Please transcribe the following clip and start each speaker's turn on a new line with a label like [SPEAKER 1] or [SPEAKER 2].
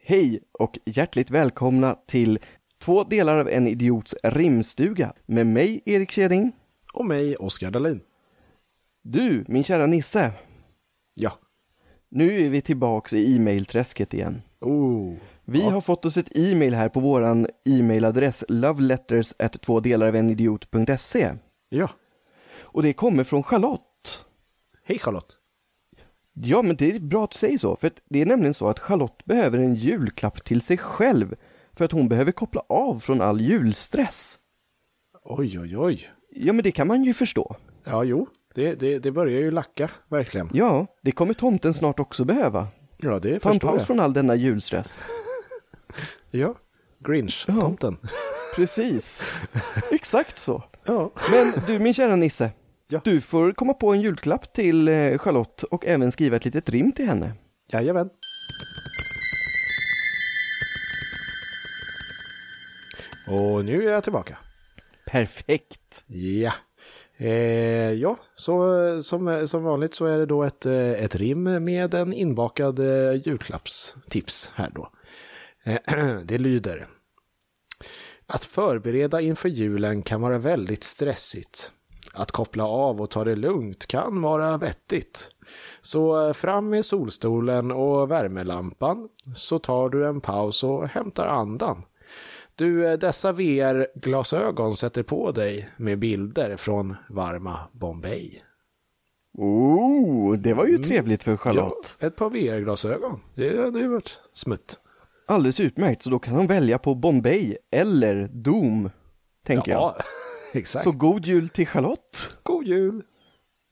[SPEAKER 1] Hej och hjärtligt välkomna till två delar av en idiots rimstuga med mig, Erik Kjeding.
[SPEAKER 2] Och mig, Oskar Dahlin.
[SPEAKER 1] Du, min kära Nisse,
[SPEAKER 2] Ja.
[SPEAKER 1] nu är vi tillbaks i e-mailträsket igen.
[SPEAKER 2] Oh.
[SPEAKER 1] Vi har fått oss ett e-mail här på våran e-mailadress loveletters
[SPEAKER 2] Ja.
[SPEAKER 1] och det kommer från Charlotte.
[SPEAKER 2] Hej Charlotte.
[SPEAKER 1] Ja, men det är bra att du säger så, för att det är nämligen så att Charlotte behöver en julklapp till sig själv för att hon behöver koppla av från all julstress.
[SPEAKER 2] Oj, oj, oj.
[SPEAKER 1] Ja, men det kan man ju förstå.
[SPEAKER 2] Ja, jo. Det, det, det börjar ju lacka, verkligen.
[SPEAKER 1] Ja, det kommer tomten snart också behöva.
[SPEAKER 2] Ja, det
[SPEAKER 1] Ta en
[SPEAKER 2] förstår
[SPEAKER 1] paus
[SPEAKER 2] jag.
[SPEAKER 1] från all denna julstress.
[SPEAKER 2] Ja. Grinch-tomten.
[SPEAKER 1] Precis, exakt så.
[SPEAKER 2] Ja.
[SPEAKER 1] Men du min kära Nisse,
[SPEAKER 2] Ja.
[SPEAKER 1] du får komma på en julklapp till eh, Charlotte och även skriva ett litet rim till henne.
[SPEAKER 2] Jajamän. Och nu är jag tillbaka.
[SPEAKER 1] Perfekt.
[SPEAKER 2] Ja. Eh, ja, så eh, som, som vanligt så är det då ett, eh, ett rim med en inbakad eh, julklappstips här då. Eh, det lyder. Att förbereda inför julen kan vara väldigt stressigt. Att koppla av och ta det lugnt kan vara vettigt. Så eh, fram med solstolen och värmelampan så tar du en paus och hämtar andan. Du, eh, dessa VR-glasögon sätter på dig med bilder från varma Bombay.
[SPEAKER 1] Oh, det var ju
[SPEAKER 2] Mm.
[SPEAKER 1] trevligt för Charlotte.
[SPEAKER 2] Ja, ett par VR-glasögon. Det hade ju varit smutt.
[SPEAKER 1] Alldeles utmärkt, så då kan hon välja på Bombay eller Doom, tänker jag.
[SPEAKER 2] exakt.
[SPEAKER 1] Så god jul till Charlotte.
[SPEAKER 2] god jul!